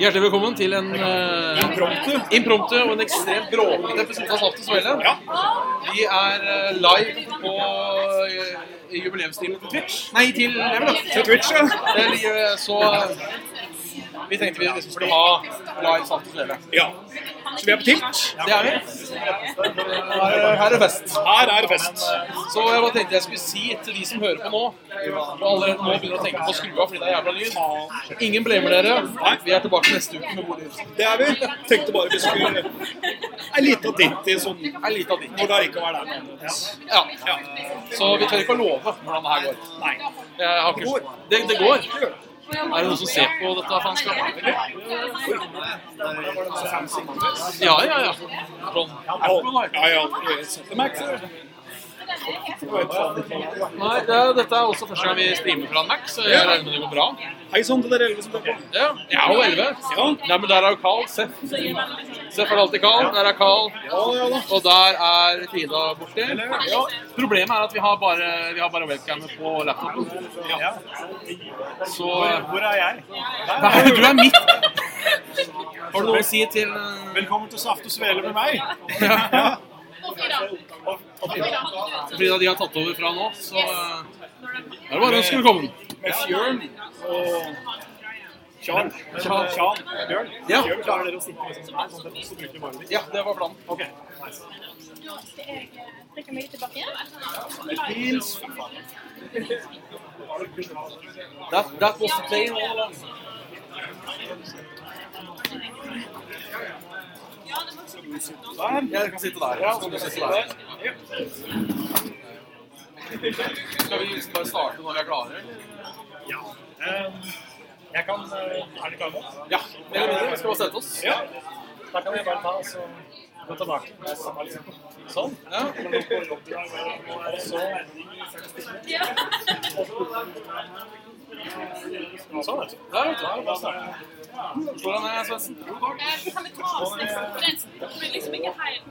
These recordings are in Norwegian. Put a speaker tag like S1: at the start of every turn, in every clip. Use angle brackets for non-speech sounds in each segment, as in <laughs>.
S1: Hjertelig velkommen til en eh,
S2: Impromptu.
S1: impromptu og en ekstremt bråkete episode av Saft og Svele.
S2: Ja.
S1: Vi er eh, live på eh, jubileumsstilen til Twitch. Nei, til Level Up.
S2: Til Twitch, ja.
S1: Det ligger, eh, så eh, vi tenkte vi liksom skulle ha live Saft og Svele.
S2: ja. Så vi er på tilt.
S1: Det er vi. Her er- Her er fest.
S2: Her er det fest.
S1: Så jeg bare tenkte jeg skulle si til de som hører på nå, og allerede nå begynner å tenke på å skru av fordi det er jævla lyd Ingen blamer dere. Vi er tilbake neste uke med god lyd.
S2: Det er vi. Tenkte bare vi skulle En liten titt i sånn
S1: En liten av de.
S2: når det allikevel er noe annerledes.
S1: Ja.
S2: Ja.
S1: Så vi tør ikke å love hvordan det her går.
S2: Nei.
S1: Jeg har ikke... det, det går. Er det noen som ser på dette faenskapet? Ja, ja, ja. Sånn.
S2: Ja, ja. ja. Setter meg ikke for det.
S1: Nei, det, er- dette er også første gang vi streamer fra en Mac, så jeg regner med det går bra.
S2: Hei sann til dere elleve som er på.
S1: Ja, jeg er jo 11.
S2: Ja.
S1: Nei, men der er jo Carl. Seff. Seff er alltid Carl. Der er Carl.
S2: Ja, ja da.
S1: Og der er Frida borti. Ja. Problemet er at vi har bare, vi har bare webcamet på laptopen.
S2: Ja.
S1: Så
S3: Hvor er jeg?
S1: Nei, du er midt. Har du noe å si til eh,
S3: Velkommen til Saft og Svele med meg.
S1: Ja.
S3: Og- og-
S1: Frida, de har tatt over fra nå, så eh, er det bare å ønske velkommen.
S2: Med Fjørn og Kjarl. Kjarl. Bjørn.
S1: Ja.
S3: Gjør- Klarer dere å sitte liksom her, sånn at dere også bruker bare litt?
S1: Ja, det var planen.
S3: Ok, nice.
S1: That, that was the plan all along. Ja, dere kan sitte der. Ja, så kan du sitte der. Skal vi bare starte når vi er klare? eller?
S3: Ja.
S2: Um,
S3: Ehm, Jeg kan
S2: uh,
S3: eh, Er det klart nå?
S1: Ja, mer eller mindre. Vi skal bare sette oss.
S3: Ja. Da kan jeg bare ta og så gå tilbake. med samme liksom. Sånn.
S1: Ja.
S3: Og så Sånn, vet du.
S1: Der, vet du.
S3: Da starter jeg.
S1: Hvordan er Svendsen?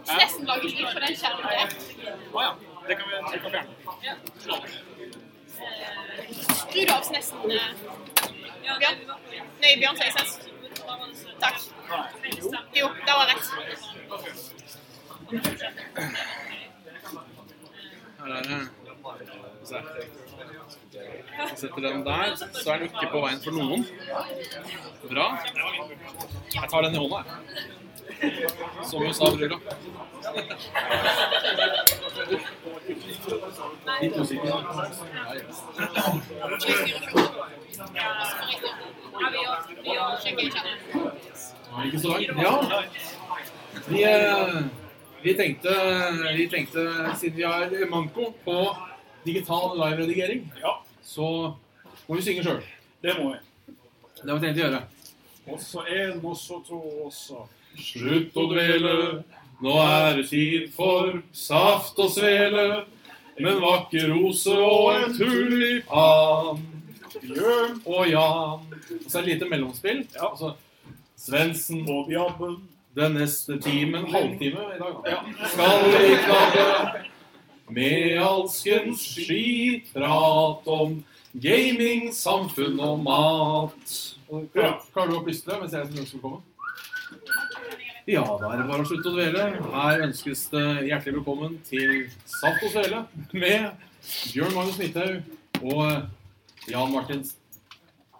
S4: Stressen lager lyd på den skjermen der.
S3: Å ja. Det kan vi trykke og fjerne.
S4: Skru av snessen. Bjørn. Nei, Bjørn sier sess. Takk. Jo, det var rett.
S1: Her er det. Se. Jeg setter den der, så er den ikke på veien for noen. Bra. Jeg tar den i hånda, jeg. Som hun sa, brura. Ikke så langt? Ja. Vi, eh, vi, tenkte, vi tenkte, siden vi har manko på digital live-redigering,
S3: Ja,
S1: så må vi synge sjøl.
S3: det må vi.
S1: Det har vi tenkt å gjøre.
S3: Og så én, og så to, og så
S1: Slutt å dvele, nå er det tid for saft og svele. Med en vakker rose og en tulipan.
S3: Bjørn
S1: Og Jan. Og så er det et lite mellomspill.
S3: Ja.
S1: Altså, Svendsen
S3: og Bjabben.
S1: den neste timen, halvtime i dag, da. skal vi knabbe med alskens skitprat om gaming, samfunn og mat. Ja, Klarer du å plystre mens jeg ønsker velkommen? Ja, da er det bare å slutte å dvele. Her ønskes det hjertelig velkommen til Saft og Svele med Bjørn Magnus Midthaug og Jan Martin,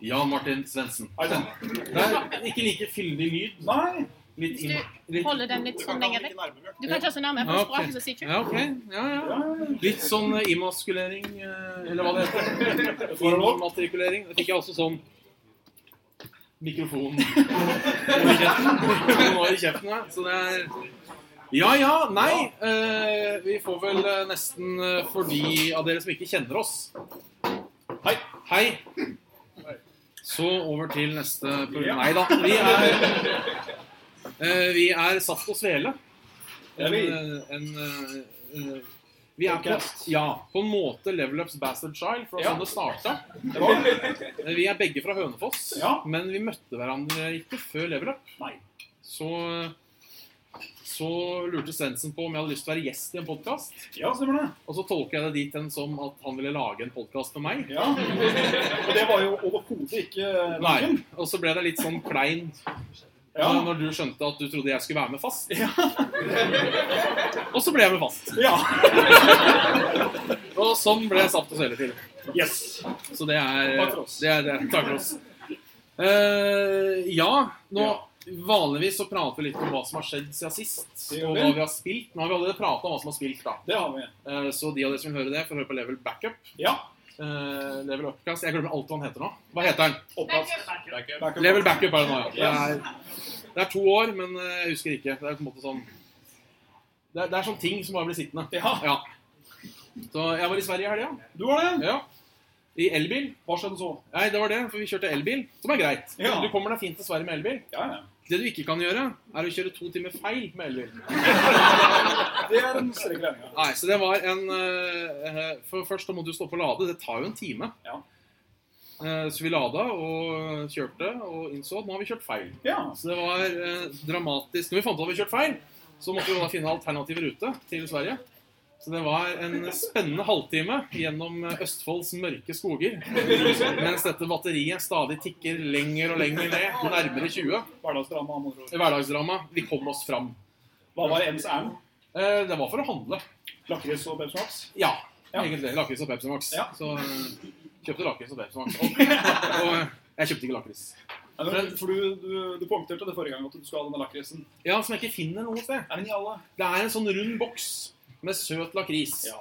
S1: Jan Martin Svendsen.
S3: Nei, den-
S1: Det er ikke like fyldig lyd.
S3: Nei!
S1: Litt inn, litt
S4: Holder den litt sånn lenger vekk. Du kan ikke ha så
S1: Ja,
S4: nærme, for
S1: ok.
S4: språket så sier ikke.
S1: Ja, ok. Ja, ja. Litt sånn eh, immaskulering, eh, eller hva det <laughs> heter.
S3: Får du nok?
S1: Immatrikulering. Da fikk jeg også sånn <laughs> mikrofon nå i kjeften. ja. Så det er Ja ja, nei. eh, vi får vel eh, nesten eh, for de av dere som ikke kjenner oss Hei. Hei. Så over til neste program. Nei da. Vi er, eh, vi er Saft og Svele. En, eh, en, eh, eh, vi er på,
S3: Podcast.
S1: ja, på en måte Level Ups Bastard Child, for det var sånn det starta.
S3: Det var-
S1: Eh, Vi er begge fra Hønefoss,
S3: Ja.
S1: men vi møtte hverandre ikke før Level Up.
S3: Nei.
S1: Så så lurte Svendsen på om jeg hadde lyst til å være gjest i en podkast.
S2: Ja, stemmer det.
S1: Og så tolker jeg det dit hen som at han ville lage en podkast med meg.
S2: Ja. Og det var jo overhodet ikke
S1: Nei, Og så ble det litt sånn klein eh,
S2: Ja.
S1: når du skjønte at du trodde jeg skulle være med fast. <laughs> og så ble jeg med fast.
S2: ja.
S1: Og sånn ble jeg satt og seler til.
S2: Yes.
S1: Så det er
S2: Takk for oss.
S1: Det er, det er, takk for oss. Eh, ja, nå
S2: Ja.
S1: Vanligvis så prater vi litt om hva som har skjedd siden sist,
S2: Det gjør
S1: og
S2: vi.
S1: hva vi har spilt. Nå har vi allerede prata om hva som har spilt, da.
S2: Det har vi.
S1: Eh, Så de av dere som vil høre det, får høre på Level Backup.
S2: Ja.
S1: Eh, level Upcast. Jeg glemmer alt hva han heter nå. Hva heter han?
S2: Oppkast. Backup.
S1: Level Backup er det nå, ja. Det er, det er to år, men eh, jeg husker ikke. Det er på en måte sånn Det er, det er sånn ting som bare blir sittende.
S2: Ja.
S1: Så jeg var i Sverige i helga.
S2: Du har det?
S1: Ja. I elbil.
S2: Hva skjedde så?
S1: Nei, det var det, for vi kjørte elbil, som er greit.
S2: Ja.
S1: Du kommer deg fint til Sverige med elbil.
S2: Ja, ja.
S1: Det du ikke kan gjøre, er å kjøre to timer feil med elbil.
S2: Det er den strenge regninga.
S1: Nei, så det var en eh, eh, For først da må du stå på å lade. Det tar jo en time.
S2: Ja.
S1: Eh, så vi lada og kjørte og innså at nå har vi kjørt feil.
S2: Ja.
S1: Så det var eh, dramatisk. Når vi fant ut at vi kjørt feil, så måtte vi jo da finne alternativ rute til Sverige. Så det var en spennende halvtime gjennom eh, Østfolds mørke skoger. Mens dette batteriet stadig tikker lenger og lenger ned, nærmere 20.
S2: Hverdagsdrama. med andre ord.
S1: Hverdagsdrama. Vi kom oss fram.
S2: Hva var M's ærend?
S1: Eh, det var for å handle.
S2: Lakris og Pepsi Max?
S1: Ja,
S2: Ja.
S1: egentlig. Lakris og Pepsi Max.
S2: Ja.
S1: Så øh, kjøpte lakris og <laughs> Pepsi Max. Og, og øh, jeg kjøpte ikke lakris.
S2: Nei, men, for du, du, du poengterte det forrige gang at du skulle ha denne lakrisen.
S1: Ja, Som jeg ikke finner noe sted.
S2: Er den i alle?
S1: Det er en sånn rund boks med søt lakris.
S2: Ja.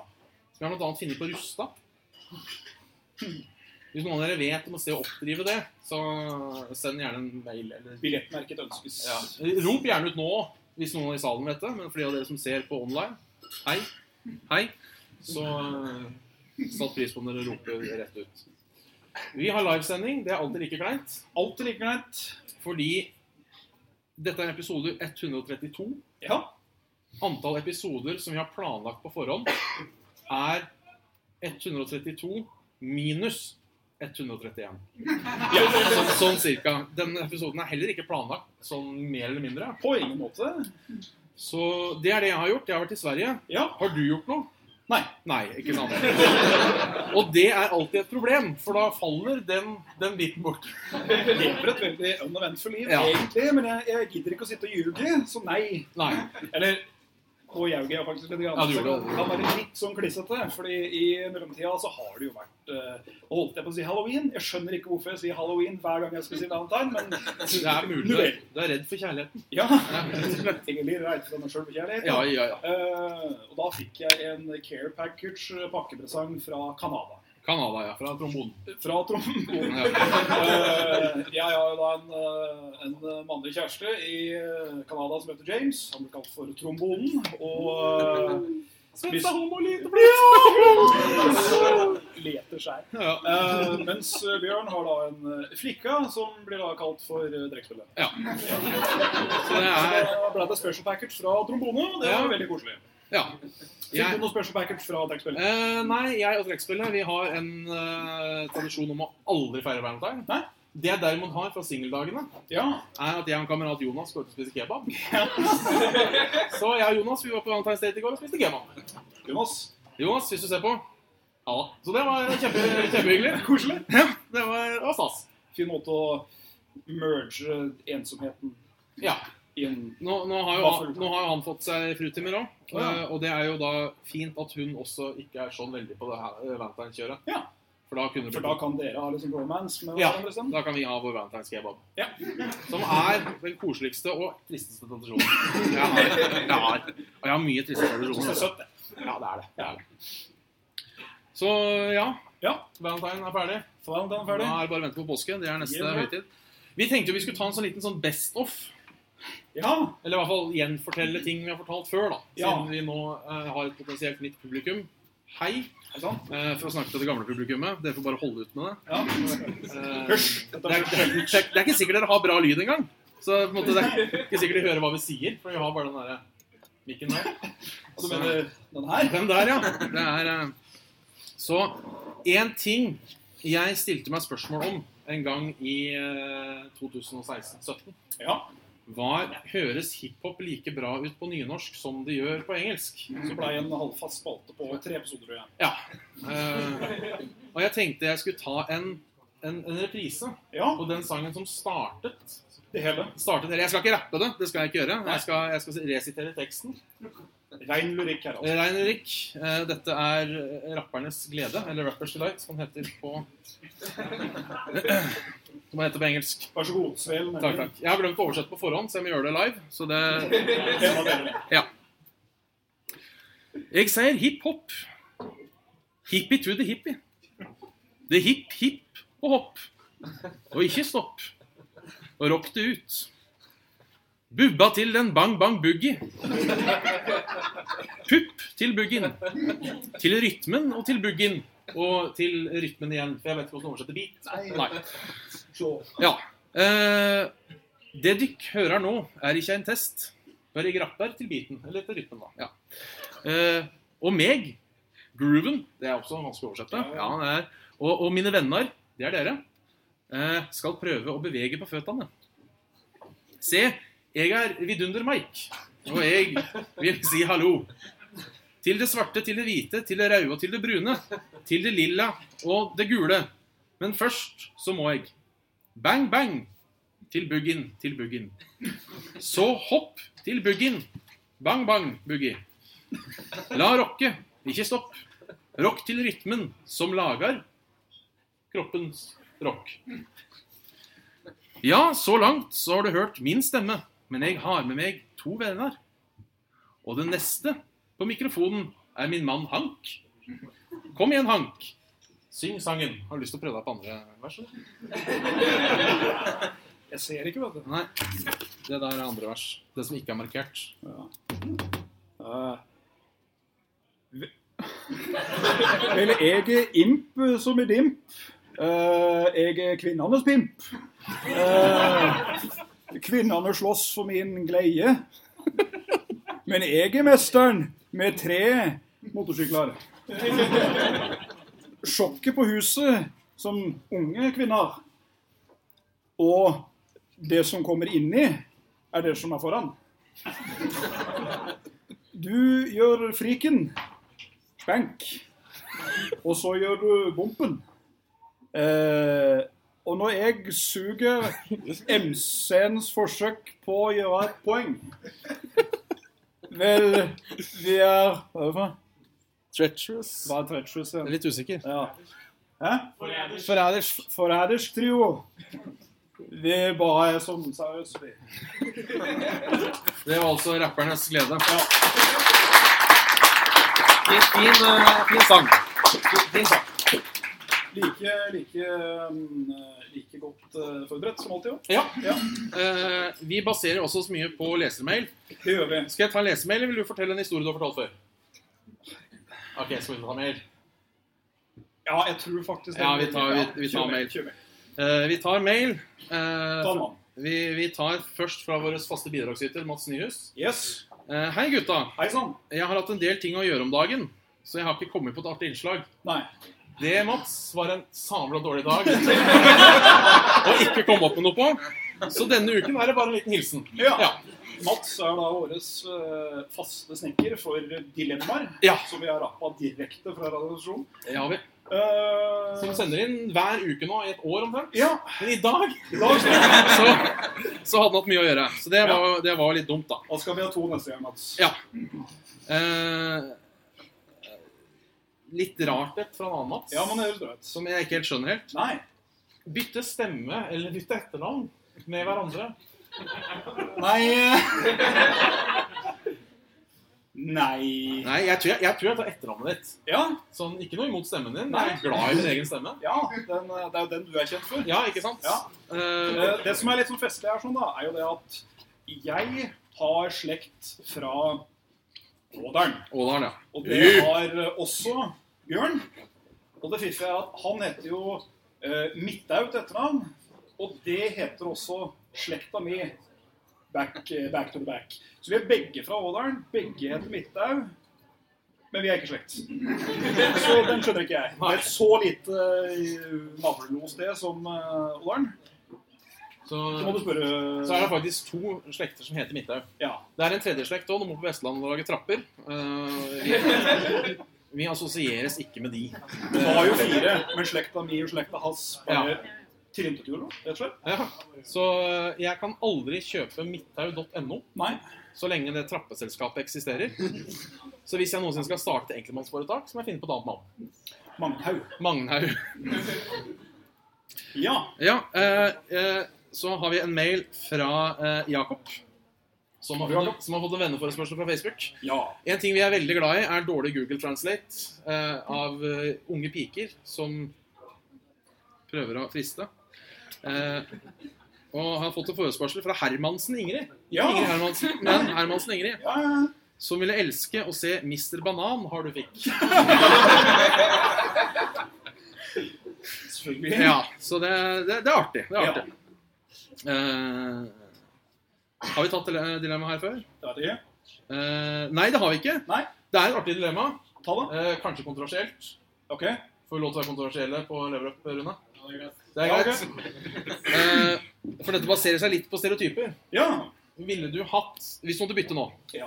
S1: Som jeg bl.a. finner på Rusta. Hvis noen av dere vet om et sted å oppdrive det, så send gjerne en mail. Eller...
S2: Billettmerket ønskes.
S1: Ja. Rop gjerne ut nå hvis noen i salen vet det. Men for de av dere som ser på online, hei. Hei. Så øh, satt pris på om dere roper rett ut. Vi har livesending. Det er alltid like kleint.
S2: Alt er like greit.
S1: Fordi dette er episode 132.
S2: Ja.
S1: Antall episoder som vi har planlagt på forhånd, er 132 minus 131. Sånn, sånn cirka. Denne episoden er heller ikke planlagt sånn mer eller mindre.
S2: På ingen måte.
S1: Så det er det jeg har gjort. Jeg har vært i Sverige.
S2: Ja.
S1: Har du gjort noe?
S2: Nei.
S1: Nei, ikke <laughs> sant. Og det er alltid et problem, for da faller den, den biten bort.
S2: Jeg lever et veldig uneventful liv,
S1: Ja.
S2: egentlig, men jeg, jeg gidder ikke å sitte og ljuge, så nei.
S1: Nei.
S2: Eller nå ljaug jeg faktisk litt, grann,
S1: Ja, du
S2: så
S1: gjorde
S2: det
S1: det.
S2: kan være litt sånn klissete. fordi i mellomtida så har det jo vært eh, holdt jeg på å si halloween. Jeg skjønner ikke hvorfor jeg sier halloween hver gang jeg skal si valentine, men
S1: Det er mulig. Du er- Du er redd for kjærligheten.
S2: ja.
S1: Ja.
S2: Egentlig reit fra meg sjøl for kjærlighet.
S1: Ja, ja, ja.
S2: Eh, og da fikk jeg en care package eh, pakkepresang fra Canada.
S1: Canada, ja. Fra trombonen.
S2: Fra trombonen.
S1: Ja.
S2: Eh, jeg har jo da en, eh, en mannlig kjæreste i eh, Canada som heter James. Han blir kalt for Trombonen. Og Hvis- eh, leter seg.
S1: Ja.
S2: Eh, mens eh, Bjørn har da en eh, flikka som blir da kalt for eh, Drekkspillet.
S1: ja. Så det
S2: Så
S1: er
S2: da ble det special package fra trombone, og det
S1: Ja.
S2: var veldig koselig.
S1: Ja.
S2: Fikk du
S1: Jeg,
S2: noe special package fra Drekkspillet?
S1: eh, nei, jeg og trekkspillet vi har en eh, tradisjon om å aldri feire valentine.
S2: Nei.
S1: Det jeg derimot har fra singeldagene,
S2: Ja.
S1: er at jeg og en kamerat Jonas går ut og spiser kebab. <laughs> Så jeg og Jonas vi var på Valentine's Date i går og spiste kebab.
S2: Jonas?
S1: Jonas, hvis du ser på. Ja da. Så det var kjempe, kjempehyggelig.
S2: Koselig.
S1: Ja, det var, det var stas.
S2: Fin måte å merge ensomheten
S1: Ja.
S2: i en
S1: Nå, nå, har jo, han- nå har jo han fått seg frutimer òg,
S2: Å, ja.
S1: eh, og det er jo da fint at hun også ikke er sånn veldig på det her eh, Valentine's-kjøret.
S2: Ja.
S1: For da kunne det
S2: For da
S1: blitt
S2: kan dere ha liksom romance med
S1: Ja.
S2: hverandre? sånn.
S1: da kan vi ha vår valentine's-kebab.
S2: Ja.
S1: Som er den koseligste og tristeste tradisjonen jeg har. Jeg har. Og jeg har mye triste
S2: Så det er
S1: tradisjoner.
S2: søtt, det.
S1: Ja, det er det. det, er det. Så ja,
S2: Ja.
S1: valentine er ferdig.
S2: Så er den
S1: Da
S2: ferdig.
S1: er det bare å vente på påske. Det er neste
S2: Ja.
S1: høytid. Vi tenkte jo vi skulle ta en sånn liten sånn best off.
S2: Ja.
S1: Eller i hvert fall gjenfortelle ting vi har fortalt før, da.
S2: Ja.
S1: Siden vi nå eh, har et potensielt nytt publikum. Hei,
S2: Er det sant?
S1: eh, for å snakke til det gamle publikummet. Dere får bare holde ut med det.
S2: Ja.
S1: Eh,
S2: Hysj!
S1: det, er, det, er, det er- det er ikke sikkert dere har bra lyd engang. Så på en måte, det er ikke sikkert de hører hva vi sier, for vi har bare den derre mikken der.
S2: Så mener den her.
S1: Den der, ja. Det er eh, Så én ting jeg eh, stilte meg spørsmål om en gang i 2016-17,
S2: Ja.
S1: var Høres hiphop like bra ut på nynorsk som det gjør på engelsk?
S2: Så blei en halvfast spalte på tre episoder, tror jeg.
S1: Ja. Eh, og jeg tenkte jeg skulle ta en, en, en reprise
S2: Ja,
S1: på den sangen som startet.
S2: det hele.
S1: startet Jeg skal ikke rappe det, det skal jeg ikke gjøre. Jeg skal, jeg skal resitere teksten.
S2: Rein lyrikk her, altså.
S1: Rein Ulrik, eh, dette er rappernes glede, eller Rappers Delight, som den heter på Som den heter på engelsk.
S2: Vær så god, svel.
S1: Takk, takk. Jeg har glemt å oversette på forhånd, så jeg må gjøre det live. Så det
S2: takk.
S1: Ja. Jeg sier hiphop. Hippie to the hippie. Det er hipp, hipp og hopp. Og ikke stopp. Og rock det ut. Bubba til den bang bang boogie. Pupp til buggien. Til rytmen og til buggien. Og til rytmen igjen. For jeg vet ikke hvordan oversette beat. Nei. Ja. Eh, det dykk hører nå, er ikke en test. Bare jeg rapper til beaten, eller til rytmen, da. Ja. Eh, og meg, grooven, det er også vanskelig å oversette, ja, det er. Og, og mine venner, det er dere, eh, skal prøve å bevege på føttene. Se, jeg er vidunder Mike, og jeg vil si hallo. Til det svarte, til det hvite, til det røde og til det brune. Til det lilla og det gule. Men først så må jeg Bang, bang. Til buggin, til buggin. Så hopp til buggin. Bang, bang, boogie. La rocke, ikke stopp. Rock til rytmen som lager kroppens rock. Ja, så langt så har du hørt min stemme, men jeg har med meg to venner. Og den neste på mikrofonen er min mann Hank. Kom igjen, Hank. Syng sangen. Har du lyst til å prøve deg på andre vers? eller?
S2: Jeg ser ikke, vet du.
S1: Nei. Det der er andre vers. Det som ikke er markert.
S2: Eh, ve- Vel, jeg er imp som er dimp. Eh, jeg er kvinnenes pimp. Eh, kvinnene slåss for min gleie. Men jeg er mesteren med tre motorsykler. Sjokket på huset som unge kvinner. Og det som kommer inni, er det som er foran. Du gjør friken. Spank. Og så gjør du bompen. Eh, og når jeg suger MC-ens forsøk på å gjøre et poeng Vel, vi er Hva er det for noe?
S1: Treacherous.
S2: Hva er treacherous
S1: Jeg er
S2: igjen?
S1: litt usikker.
S2: Ja. Hæ?
S1: Forræders.
S2: Forrædersk trio. Vi bare er sånn seriøse, vi.
S1: Det var altså rappernes glede.
S2: Ja.
S1: Fin, fin, eh, fin sang. Fin sang.
S2: Like, like, um, like godt eh, forberedt som alltid, jo.
S1: Ja.
S2: Ja.
S1: Eh, vi baserer også så mye på lesermail.
S2: Det gjør vi.
S1: Skal jeg ta en lesemail, eller vil du fortelle en historie du har fortalt før? OK, skal vi ta mail?
S2: Ja, jeg tror faktisk det.
S1: Ja, vi tar- vi- vi tar
S2: Kjør
S1: mail.
S2: Kjør mail.
S1: Eh, vi tar mail. Eh,
S2: Ta den av.
S1: vi, vi tar først fra vår faste bidragsyter, Mats Nyhus.
S2: Yes.
S1: Eh, hei, gutta.
S2: Hei sann.
S1: Jeg har hatt en del ting å gjøre om dagen, så jeg har ikke kommet på et artig innslag.
S2: Nei.
S1: Det, Mats, var en sabla dårlig dag <laughs> å ikke komme opp med noe på. Så denne uken er det bare en liten hilsen.
S2: Ja.
S1: Ja.
S2: Mats er da årets eh, faste snekker for dilemmaer,
S1: Ja.
S2: som vi har rappa direkte fra radioresepsjonen.
S1: Det har vi.
S2: Eh,
S1: Som sender inn hver uke nå i et år omtrent.
S2: ja.
S1: Men i dag
S2: I dag skal vi,
S1: så, så hadde han hatt mye å gjøre. Så det var, det var litt dumt, da.
S2: da skal vi ha to neste gang, Mats.
S1: Ja. Eh, litt rart et fra en annen Mats,
S2: Ja, men det høres bra ut.
S1: som jeg ikke helt skjønner helt.
S2: Nei.
S1: Bytte stemme eller bytte etternavn med hverandre.
S2: Nei <laughs> eh. Nei
S1: Nei, jeg tror jeg, jeg, tror jeg tar etternavnet ditt.
S2: Ja,
S1: Sånn, Ikke noe imot stemmen din.
S2: Nei.
S1: Jeg er glad i min egen stemme.
S2: ja den, eh, det er jo den du er kjent for.
S1: Ja, ikke sant?
S2: Ja.
S1: Eh,
S2: Eh, Det som er litt sånn festlig her, sånn da, er jo det at jeg har slekt fra Ådalen.
S1: Ådalen, ja.
S2: Og det har eh, også Bjørn. Og det fiffige er at han heter jo eh, Midthaug til etternavn. Og det heter også slekta mi. Back, eh, back to the back. Så vi er begge fra Ådalen. Begge heter Midthaug. Men vi er ikke slekt. Så den skjønner ikke jeg. Det er et så lite eh, nabolos det som eh, Ådalen.
S1: Så,
S2: Så må du spørre
S1: så er det faktisk to slekter som heter Midthaug.
S2: Ja.
S1: Det er en tredje slekt òg. De bor på Vestlandet og lager trapper. Eh, vi- vi assosieres ikke med de.
S2: Du har jo fire, men slekta mi og slekta hans bare
S1: Ja.
S2: tilintetgjorde noe, rett og slett.
S1: Ja. Så eh, jeg kan aldri kjøpe midthaug.no
S2: Nei.
S1: så lenge det trappeselskapet eksisterer. Så hvis jeg noensinne skal starte enkeltmannsforetak, så må jeg finne på et annet navn.
S2: Manghaug.
S1: Magnhaug.
S2: Ja.
S1: Ja, eh, eh, så har vi en mail fra eh, Jakob. Som har, fått, som har fått en venneforespørsel fra Facebook.
S2: Ja.
S1: En ting vi er veldig glad i, er dårlig Google Translate eh, av eh, unge piker som prøver å friste. Eh, og har fått en forespørsel fra Hermansen Ingrid. Ikke
S2: Ja.
S1: Ingrid Hermansen, men Hermansen Ingrid.
S2: ja.
S1: Som ville elske å se Mr. Banan har du fikk.
S2: Selvfølgelig.
S1: Ja, så det, det, det er artig. Det er artig. Eh, har vi tatt dile- dilemma her før?
S2: Det er det.
S1: Eh, nei, det har vi ikke.
S2: Nei.
S1: Det er et artig dilemma.
S2: Ta det.
S1: Eh, kanskje kontroversielt.
S2: OK.
S1: Får vi lov til å være kontroversielle på Lever Up, Rune? Det er
S2: Ja,
S1: greit. Eh, for dette baserer seg litt på stereotyper.
S2: ja.
S1: Ville du hatt Hvis du måtte bytte nå
S2: ja.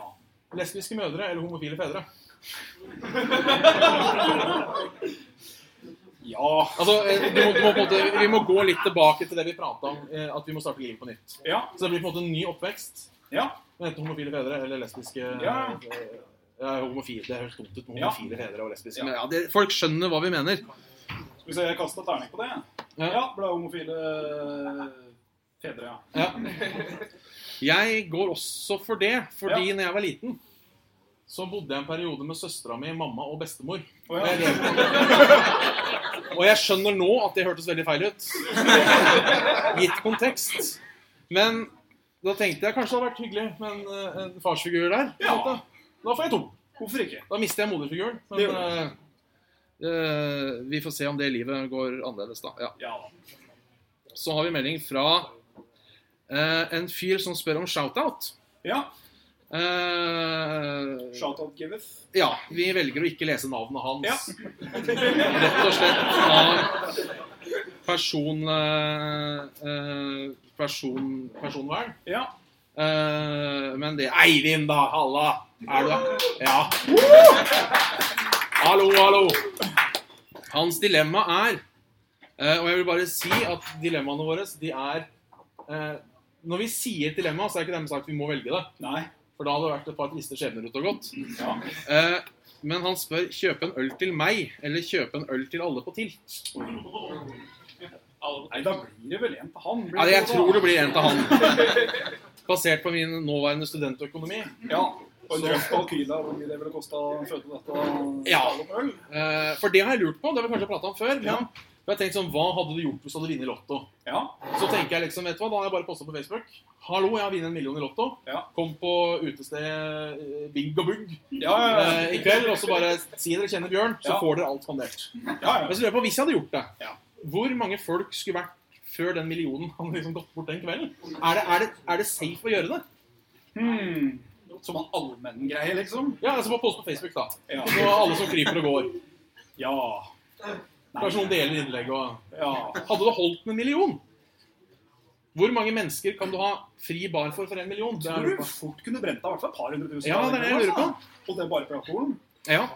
S1: lesbiske mødre eller homofile fedre?
S2: Ja.
S1: Altså, eh, du må, du må på en måte, Vi må gå litt tilbake til det vi prata om, eh, at vi må starte livet på nytt.
S2: Ja.
S1: Så det blir på en måte en ny oppvekst.
S2: Ja.
S1: Men Enten homofile fedre eller lesbiske
S2: Ja.
S1: eh, ja, homofile, Det høres dumt ut med
S2: Ja.
S1: homofile fedre og lesbiske.
S2: Ja.
S1: Men ja, det, folk skjønner hva vi mener.
S2: Skal vi se, jeg kasta terning på det.
S1: Ja.
S2: Ja, ble homofile fedre, ja.
S1: Ja. Jeg går også for det, fordi når jeg var liten, så bodde jeg en periode med søstera mi, mamma og bestemor.
S2: Å,
S1: Og
S2: ja.
S1: jeg, og jeg skjønner nå at det hørtes veldig feil ut. Gitt kontekst. Men da tenkte jeg kanskje det hadde vært hyggelig med en, eh, en farsfigur der. på en
S2: Ja.
S1: måte. Da får jeg to.
S2: Hvorfor ikke?
S1: Da mister jeg moderfiguren.
S2: Det
S1: Men
S2: gjør
S1: eh, eh, vi får se om det livet går annerledes, da. Ja.
S2: Ja.
S1: Så har vi melding fra eh, en fyr som spør om shout-out.
S2: ja.
S1: Eh,
S2: Shoutout giveth.
S1: ja, vi velger å ikke lese navnet hans. Rett og slett av person, eh, eh, person, personvern.
S2: <laughs> Ja.
S1: Eh, men det Eivind, da! Halla! Er du Ja. Hallo, hallo! Hans dilemma er eh, Og jeg vil bare si at dilemmaene våre, de er eh, Når vi sier et dilemma, så er ikke det sagt at vi må velge det.
S2: Nei.
S1: For da hadde det vært et par triste skjebner ute og gått.
S2: Ja.
S1: Eh, men han spør kjøpe en øl til meg, eller kjøpe en øl til alle på tilt.
S2: Nei, da blir det vel en til han.
S1: Ja, jeg tror det blir en til han. Basert på min nåværende studentøkonomi.
S2: Ja. Og en drøft Al-Qaida, hvor mye det ville kosta å føde dette
S1: Ja.
S2: alle på øl?
S1: Eh, for det har jeg lurt på, det har vi kanskje prata om før. Men
S2: Ja.
S1: for jeg har tenkt sånn, Hva hadde du gjort hvis du hadde vunnet i Lotto?
S2: Ja.
S1: Så tenker jeg liksom, vet du hva, da har jeg bare posta på Facebook. Hallo, jeg har vunnet en million i Lotto.
S2: Ja.
S1: Kom på utestedet eh, Big og Bugg
S2: Ja, ja,
S1: eh, i kveld, og så bare si dere kjenner Bjørn, så
S2: Ja.
S1: får dere alt spandert.
S2: ja. ja,
S1: Men
S2: ja.
S1: så lurer jeg på, hvis jeg hadde gjort det,
S2: Ja.
S1: hvor mange folk skulle vært før den millionen hadde liksom gått bort den kvelden? Er det, er det, er det safe å gjøre det?
S2: Hmm. Som en allmenngreie, liksom?
S1: Ja, altså bare post på Facebook, da.
S2: Ja.
S1: Så alle som kryper og går.
S2: Ja.
S1: Kanskje noen deler innlegg og
S2: ja.
S1: Hadde det holdt med en million? Hvor mange mennesker kan du ha fri bar for for en million? Det
S2: Tror
S1: er
S2: du fort kunne brent av i hvert fall et par hundre tusen? altså.
S1: Ja, det er det jeg lurer på.
S2: Og det er bare på alkoholen?
S1: Ja.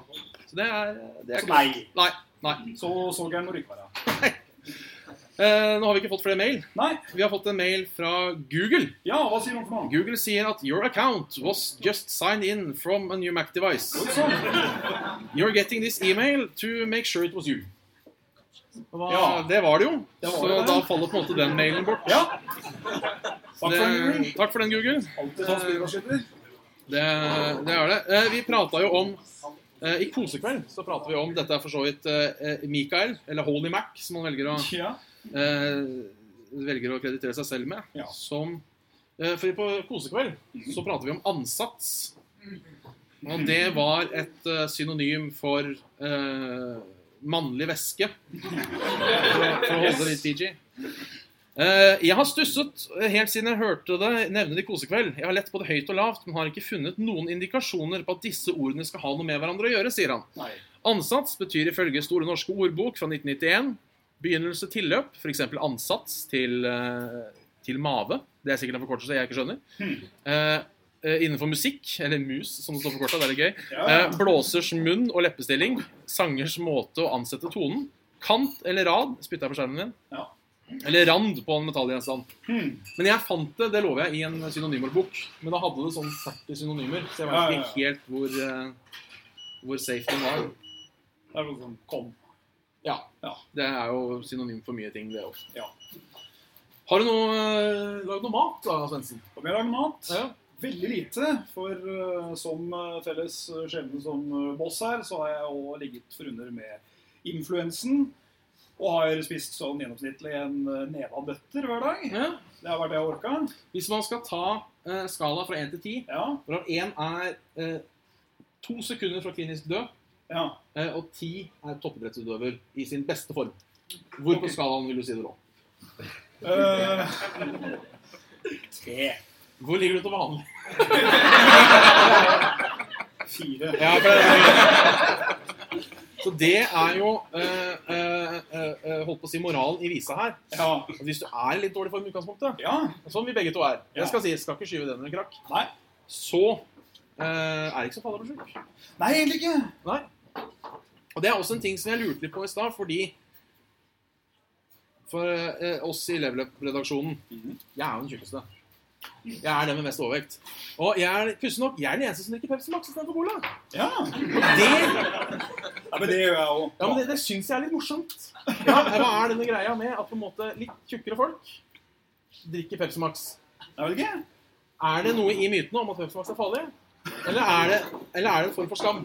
S1: Så det er, det er
S2: Så nei.
S1: Nei. nei.
S2: Så så gæren må du ikke være.
S1: Eh, nå har vi ikke fått flere mail.
S2: Nei.
S1: Vi har fått en mail fra Google.
S2: Ja, hva sier hun for noe?
S1: Google sier at your account was just signed in from a new Mac device. You're getting this email to make sure it was you. Hva,
S2: Ja.
S1: Det var det jo.
S2: Det var
S1: så
S2: det.
S1: da faller på en måte den mailen bort.
S2: Ja. Takk for
S1: det,
S2: den.
S1: takk for den, Google.
S2: Alltid sånn ta spillmaskiner.
S1: Det, det er det. Eh, Vi prata jo om eh, I Kosekveld så prater vi om Dette er for så vidt eh, Mikael, eller Holy Mac, som han velger å,
S2: Ja.
S1: eh, velger å kreditere seg selv med.
S2: Ja.
S1: Som eh, For på Kosekveld så prater vi om ansats. Og det var et eh, synonym for eh, mannlig væske. For å- for å holde det litt TG. Eh, jeg har stusset eh, helt siden jeg hørte det nevne det i Kosekveld. Jeg har lett både høyt og lavt, men har ikke funnet noen indikasjoner på at disse ordene skal ha noe med hverandre å gjøre, sier han.
S2: Nei.
S1: Ansats betyr ifølge Store norske ordbok fra 1991 begynnelse til løp, f.eks. ansats til eh, til mave. Det er sikkert en forkortelse jeg ikke skjønner. Eh, eh, innenfor musikk, eller mus, som det står forkorta, det er litt gøy.
S2: Ja.
S1: Eh, blåsers munn og leppestilling. Sangers måte å ansette tonen. Kant eller rad spytta jeg på skjermen min.
S2: Ja.
S1: Eller rand på en metallgjenstand.
S2: Hmm.
S1: Men jeg fant det, det lover jeg, i en synonymordbok. Men da hadde det sånn 40 synonymer, så jeg
S2: Ja,
S1: vet
S2: ja,
S1: ikke helt hvor, eh, hvor safe den var.
S2: Det er noe sånn kom.
S1: Ja.
S2: Ja.
S1: Det er jo synonym for mye ting, det òg.
S2: Ja.
S1: Har du noe, eh, lagd noe mat, da, Svendsen?
S2: Om jeg lager mat?
S1: Ja.
S2: Veldig lite. For eh, som eh, felles eh, skjebne som eh, boss her, så har jeg òg ligget forunder med influensen. Og har spist sånn gjennomsnittlig en eh, neve av nøtter hver dag.
S1: Ja.
S2: Det har vært det jeg har orka.
S1: Hvis man skal ta eh, skala fra 1 til 10,
S2: Ja.
S1: hvorav 1 er eh, to sekunder fra klinisk død,
S2: ja.
S1: eh, og 10 er toppidrettsutøver i sin beste form, hvor
S2: Ok.
S1: på skalaen vil du si det lå?
S2: Eh, <laughs> Tre.
S1: Hvor ligger du til vanlig?
S2: Fire.
S1: <laughs> Ja, for det- så det er jo eh, eh, eh, eh, holdt på å si moralen i visa her.
S2: Ja.
S1: At Hvis du er i litt dårlig form i utgangspunktet,
S2: ja.
S1: som vi begge to er,
S2: Ja.
S1: jeg skal si, skal ikke skyve den under en krakk,
S2: Nei.
S1: så eh, er det ikke så farlig å bli sjuk.
S2: Nei, egentlig ikke.
S1: Nei. Og det er også en ting som jeg lurte litt på i stad, fordi For eh, oss i Level Up-redaksjonen
S2: Mhm.
S1: Jeg er jo den tjukkeste. Jeg er den med mest overvekt. Og jeg er pussig nok, jeg er den eneste som drikker Pepsi Max istedenfor Cola.
S2: Ja.
S1: Det,
S2: ja men det gjør jeg òg.
S1: ja, men det, det syns jeg er litt morsomt. Ja, hva er denne greia med at på en måte litt tjukkere folk drikker Pepsi Max?
S2: Jeg vet ikke.
S1: Er det noe i mytene om at Pepsi Max er farlig? Eller er det, eller er det en form for skam?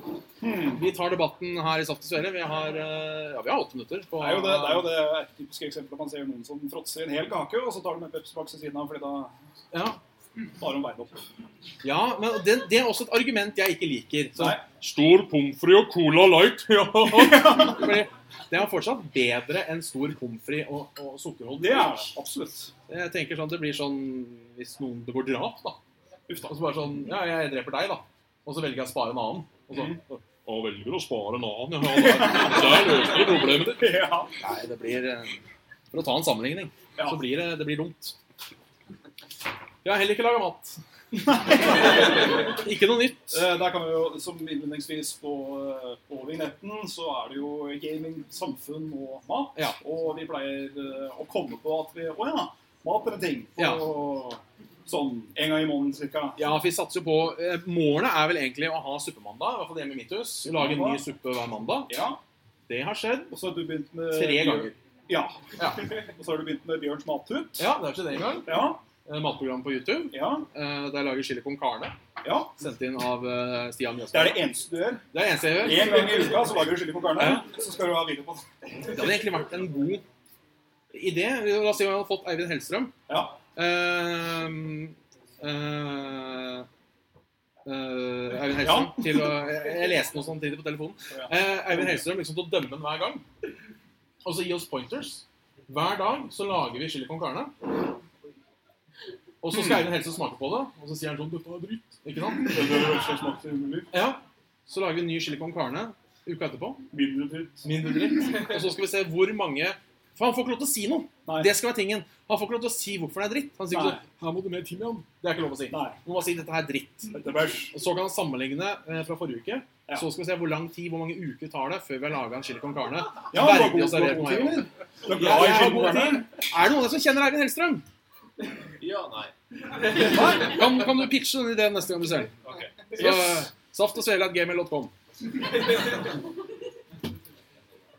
S2: Hmm.
S1: Vi tar debatten her i Saft og Svele. Vi har, eh, ja, vi har åtte minutter. På,
S2: Det er jo det, det, er jo det typiske eksempelet man ser noen som fråtser en hel kake, og så tar de en Pepsi Max ved siden av, fordi da
S1: Ja,
S2: tar de veien opp.
S1: ja men det, det er også et argument jeg ikke liker. Så,
S2: Nei.
S1: stor pommes frites og Cola
S2: <laughs>
S1: Light. Ja. Fordi det er fortsatt bedre enn stor pommes frites og, og sukkerholdig.
S2: Det er det. Absolutt.
S1: Jeg tenker sånn, Det blir sånn hvis noen begår drap, da.
S2: Uff da. <laughs>
S1: Og så bare sånn Ja, jeg dreper deg, da. Og så velger jeg å spare en annen. Mhm. Og så, «Å, velger å spare en annen, ja. Der, der løser du problemet ditt.
S2: Ja.
S1: Nei, det blir eh, For å ta en sammenligning,
S2: Ja.
S1: så blir det, det blir dumt. Jeg har heller ikke laga <laughs> mat. ikke noe nytt.
S2: Eh, Der kan vi jo, som innledningsvis på, eh, på vignetten, så er det jo gaming, samfunn og mat.
S1: Ja.
S2: Og vi pleier eh, å komme på at vi Å ja, mat er en ting. På,
S1: Ja.
S2: Sånn en gang i måneden cirka.
S1: Ja, for vi satser jo på eh, Målet er vel egentlig å ha suppemandag, i hvert fall hjemme i mitt hus. Lage en ny suppe hver mandag.
S2: Ja.
S1: Det har skjedd
S2: Og så har du begynt med
S1: tre ganger.
S2: Ja.
S1: Ja.
S2: <laughs> Og så har du begynt med Bjørns mathut.
S1: Ja, det har skjedd én gang.
S2: Ja.
S1: Eh, Matprogram på YouTube
S2: Ja.
S1: eh, der jeg lager chili con carne.
S2: ja.
S1: Sendt inn av eh, Stian
S2: Det
S1: Mjøsberg.
S2: er det eneste du gjør.
S1: Det er det eneste jeg gjør.
S2: En gang i uka så lager du chili con carne,
S1: Ja.
S2: så skal du ha video på den.
S1: Det hadde egentlig vært en god idé. La oss si om jeg hadde fått Eivind Hellstrøm.
S2: Ja.
S1: Ehm, eh, eh, Eivind Hellstrøm til å jeg, jeg leste noe samtidig på telefonen.
S2: Ja.
S1: Eh, Eivind Hellstrøm liksom til å dømme den hver gang. Og så gi oss pointers. Hver dag så lager vi chili con carne. Og så skal Eivind Hellstrøm smake på det, og så sier han sånn 'Dette var dritt'. Ikke sant?
S2: Det bør ikke smake umulig.
S1: Ja. Så lager vi en ny chili con carne uka etterpå.
S2: Mindre dritt.
S1: Mindre dritt. Og så skal vi se hvor mange For han får ikke lov til å si noe.
S2: Nei.
S1: Det skal være tingen. Han får ikke lov til å si hvorfor det er dritt. Han sier ikke
S2: Nei.
S1: sånn Her må du med timian. Det er ikke lov å si.
S2: Nei.
S1: Nå må man si dette her er dritt.
S2: Dette er bæsj.
S1: Og så kan han sammenligne eh, fra forrige uke.
S2: Ja.
S1: Så skal vi se hvor lang tid, hvor mange uker tar det før vi har laga en chili con carne.
S2: Ja, du har
S1: Verdig å
S2: god-
S1: servere
S2: du
S1: på
S2: har god
S1: meg.
S2: tid, eller? Du er
S1: Ja,
S2: glad
S1: jeg
S2: i
S1: har
S2: chili con
S1: god tid.
S2: carne?
S1: Er det noen av dere som kjenner Eivind Hellstrøm?
S5: Ja, nei.
S1: Kan, kan du pitche den ideen neste gang du ser den?
S5: Ok.
S1: Så, eh, Saftosvele.gmail.com.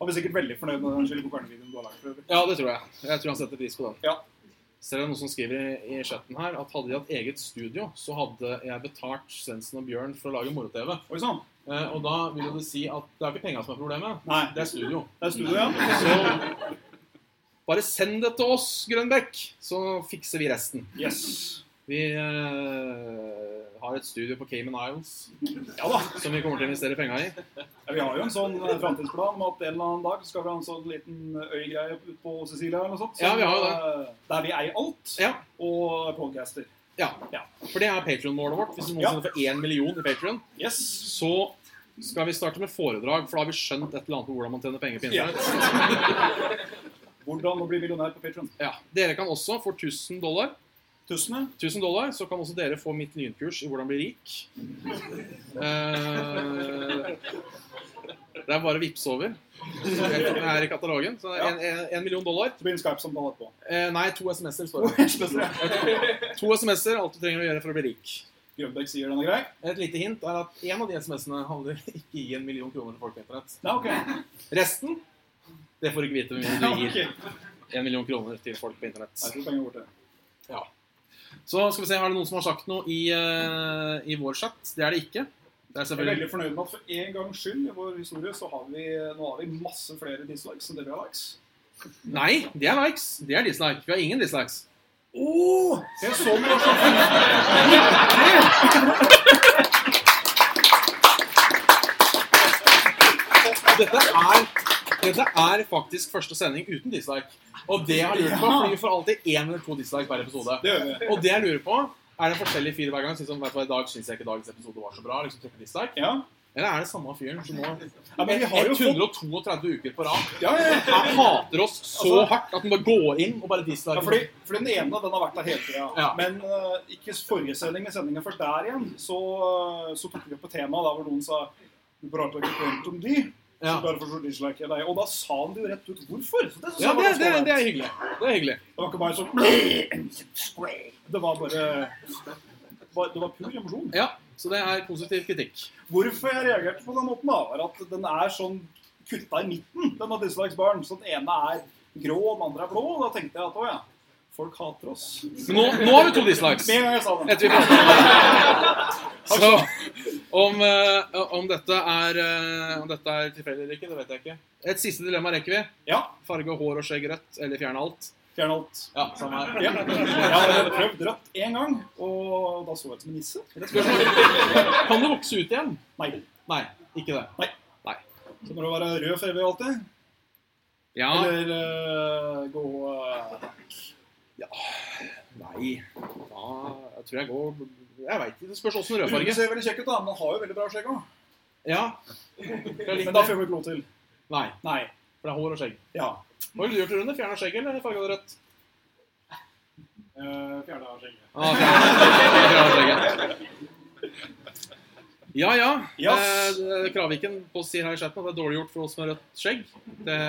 S2: Han blir sikkert veldig fornøyd med den chili con carne-videoen du har laget. for øvrig.
S1: Ja, det tror jeg. Jeg tror han setter pris på den.
S2: Ja.
S1: Ser jeg noen som skriver i, i chatten her at hadde de hatt eget studio, så hadde jeg betalt Svendsen og Bjørn for å lage moro-TV.
S2: Oi sånn. sann.
S1: Eh, og da vil jo det si at det er ikke penga som er problemet,
S2: Nei,
S1: det er studio.
S2: det er studio, ja.
S1: Så bare send det til oss, Grønbekk, så fikser vi resten.
S2: Yes.
S1: Vi eh, har et studio på Cayman Isles
S2: Ja da.
S1: som vi kommer til å investere penga i.
S2: Ja, vi har jo en sånn eh, framtidsplan om at en eller annen dag skal vi ha en sånn liten øygreie ute på Sicilia eller noe sånt.
S1: Ja, vi har jo
S2: det. Der vi eier alt,
S1: Ja,
S2: og podcaster.
S1: ja.
S2: Ja.
S1: For det er Patrion-målet vårt. Hvis vi
S2: Ja.
S1: noensinne får én million i Patrion,
S2: Yes.
S1: så skal vi starte med foredrag, for da har vi skjønt et eller annet på hvordan man tjener penger på
S2: Ja.
S1: internett.
S2: <laughs> Hvordan å bli millionær på Patron.
S1: Ja. Dere kan også, for 1000 dollar,
S2: Tusenet.
S1: 1000 dollar, så kan også dere få mitt lynkurs i hvordan bli rik. Eh, det er bare å vippse over. Den er i katalogen. Så det er en, en, en million dollar.
S2: Så blir det en Skype-samtale etterpå. <laughs>
S1: Eh, nei, to SMS-er står det.
S2: Spesielt.
S1: To SMS-er, alt du trenger å gjøre for å bli rik.
S2: Grønbæk sier den er grei.
S1: Et lite hint er at en av de SMS-ene handler ikke i en million kroner til folk på internett.
S2: Nei, ok.
S1: Resten, det får du ikke vite med mindre
S2: Ja,
S1: du
S2: ok.
S1: gir en million kroner til folk på internett.
S2: Jeg tror penger er borte.
S1: Så skal vi se, har det noen som har sagt noe i, eh, i vår chat? Det er det ikke. Det er
S2: Jeg er
S1: selvfølgelig
S2: veldig fornøyd med at for en gangs skyld i vår historie så har vi, nå har vi masse flere dislikes enn dere har likes.
S1: Nei, det er likes. Det er dislike. Vi har ingen dislikes.
S2: Jeg så mye sånn- også.
S1: Dette er, dette er faktisk første sending uten dislike. Og det jeg har lurt på, fordi vi får alltid én eller to dislike hver episode.
S2: Det gjør vi.
S1: Og det jeg lurer på, er det forskjellig fyr hver gang? Sånn som, vet du hva, I dag syns jeg ikke dagens episode var så bra. liksom trykker dislike.
S2: Ja.
S1: Eller er det samme fyren som nå
S2: ja, men vi har jo fått...
S1: 132 uker på rad
S2: Ja, ja, ja.
S1: Han hater oss så
S2: Altså-
S1: hardt at han bare går inn og bare disliker.
S2: Ja, fordi, fordi den ene den har vært der hele tida.
S1: Ja.
S2: Men eh, ikke forrige sending, men sendingen før der igjen, så, så tok vi opp et tema der hvor noen sa Du prater ikke pent om de, så
S1: ja.
S2: derfor så disliker jeg deg. Og da sa han det jo rett ut hvorfor. Så det, synes
S1: ja
S2: jeg
S1: det,
S2: var ganske
S1: det,
S2: ålreit.
S1: det er hyggelig. Det er hyggelig.
S2: Det var ikke bare sånn <clears throat> Det var bare det var- Det var pur emosjon.
S1: Ja, Så det er positiv kritikk.
S2: Hvorfor jeg reagerte på den måten, da, var at den er sånn kutta i midten, denne dislikes-baren. Så den ene er grå, og den andre er blå. Og da tenkte jeg at å ja, folk hater oss.
S1: Men nå, nå har vi to dislikes.
S2: Med en gang jeg sa den.
S1: Etter vi
S2: <laughs>
S1: prater. Så om, eh, om dette er, eh, om dette er tilfeldig eller ikke, det vet jeg ikke. Et siste dilemma rekker vi.
S2: Ja,
S1: Farge hår og skjegg rødt, eller fjerne alt.
S2: fjern alt.
S1: Ja, samme her.
S2: Ja. Jeg har prøvd rødt én gang, og da så jeg ut som en nisse. rett og slett.
S1: Kan det vokse ut igjen?
S2: Nei.
S1: Nei, ikke det.
S2: Så må du være rød for evig og alltid.
S1: Ja,
S2: Eller eh, gå eh,
S1: nei. Da, jeg tror jeg går Jeg veit ikke. Det spørs åssen
S2: Du
S1: rødfarge.
S2: ser veldig kjekk ut, da, men har jo veldig bra skjegg òg.
S1: Ja.
S2: Men da får vi ikke lov til.
S1: Nei,
S2: Nei.
S1: for det er hår og skjegg.
S2: Ja.
S1: Hva ville du gjort, Rune? Fjerna skjegget eller farga det rødt?
S2: Uh, Fjerna skjegget.
S1: Ah, fjerna- fjerna skjegget. <laughs> ja ja.
S2: Yes.
S1: Eh, Kraviken på sier her i chatten at det er dårlig gjort for oss med rødt skjegg. Det,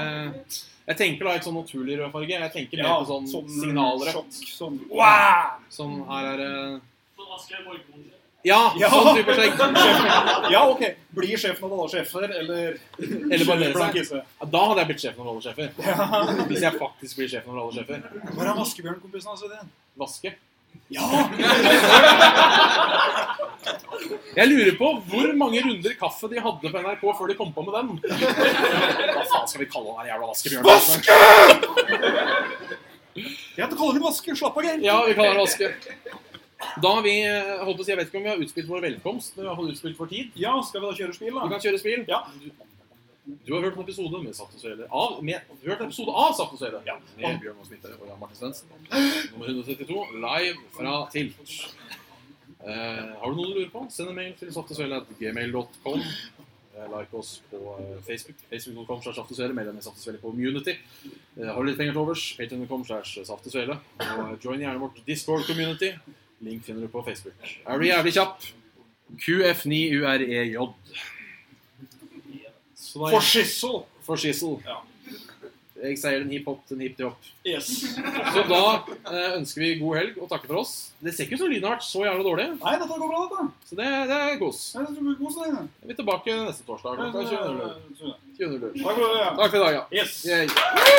S1: jeg tenker da ikke sånn naturlig rød farge. Jeg tenker mer på sånn signalrødt.
S2: sjokk, Sånn, wow!
S1: Sånn her er eh,
S3: Sånn Asgeir Borgmoen.
S1: Ja,
S2: Ja.
S1: sånn type skjegg.
S2: Ja, ok. Blir sjefen av alle sjefer, eller
S1: Eller barberer
S2: Blank
S1: seg.
S2: isse.
S1: Ja, Da hadde jeg blitt sjefen over alle sjefer. Hvis jeg faktisk blir sjefen over alle sjefer.
S2: Hvor er vaskebjørnkompisen hans? vet du?
S1: Vaske.
S2: Ja!
S1: Jeg lurer på hvor mange runder kaffe de hadde på NRK før de pumpa med den. <laughs> Hva faen skal vi kalle den her jævla vaskebjørnen?
S2: Vaske! Jeg heter Kalle Vaske. Slapp av, Geir.
S1: Ja, vi kaller den Vaske. Da har vi eh, holdt på å si, Jeg vet ikke om vi har utspilt vår velkomst, men vi har iallfall utspilt vår tid.
S2: Ja, skal vi da kjøre spill,
S1: Du
S2: da?
S1: kan kjøre spill.
S2: Ja.
S1: Du har hørt en episode med Saft og Svele. Av, med, du har hørt en episode av Saft og Svele.
S2: Ja.
S1: Med Bjørn Moe Smitte og Jan Martin Svendsen. Nummer 172, live fra Tilt. Eh, har du noe du lurer på? Send en mail til saftogsvele.gmail.com. Eh, Like oss på eh, Facebook. Facebook.com slash Saft og Svele. Medlem i Saft og Svele Community. Eh, har du litt penger til overs? Patreon.com slash Saft og Svele. Og eh, join gjerne vårt Discord-community. Link finner du på Facebook. Er du jævlig kjapp? QF9UREJ. Så da-
S2: For skissel.
S1: for skissel.
S2: Ja.
S1: Jeg sier den hiphop, den hipp-diop.
S2: Yes.
S1: Så da eh, ønsker vi god helg og takker for oss. Det ser ikke ut som lyden har vært så jævla dårlig,
S2: Nei, dette går bra, dette.
S1: så det, det er kos.
S2: Nei, dette blir kos, det.
S1: Vi er tilbake neste torsdag klokka 20.00.
S2: Takk
S1: 20.00.
S2: for det.
S1: Takk for i dag, ja.
S2: Yes.
S1: Yay.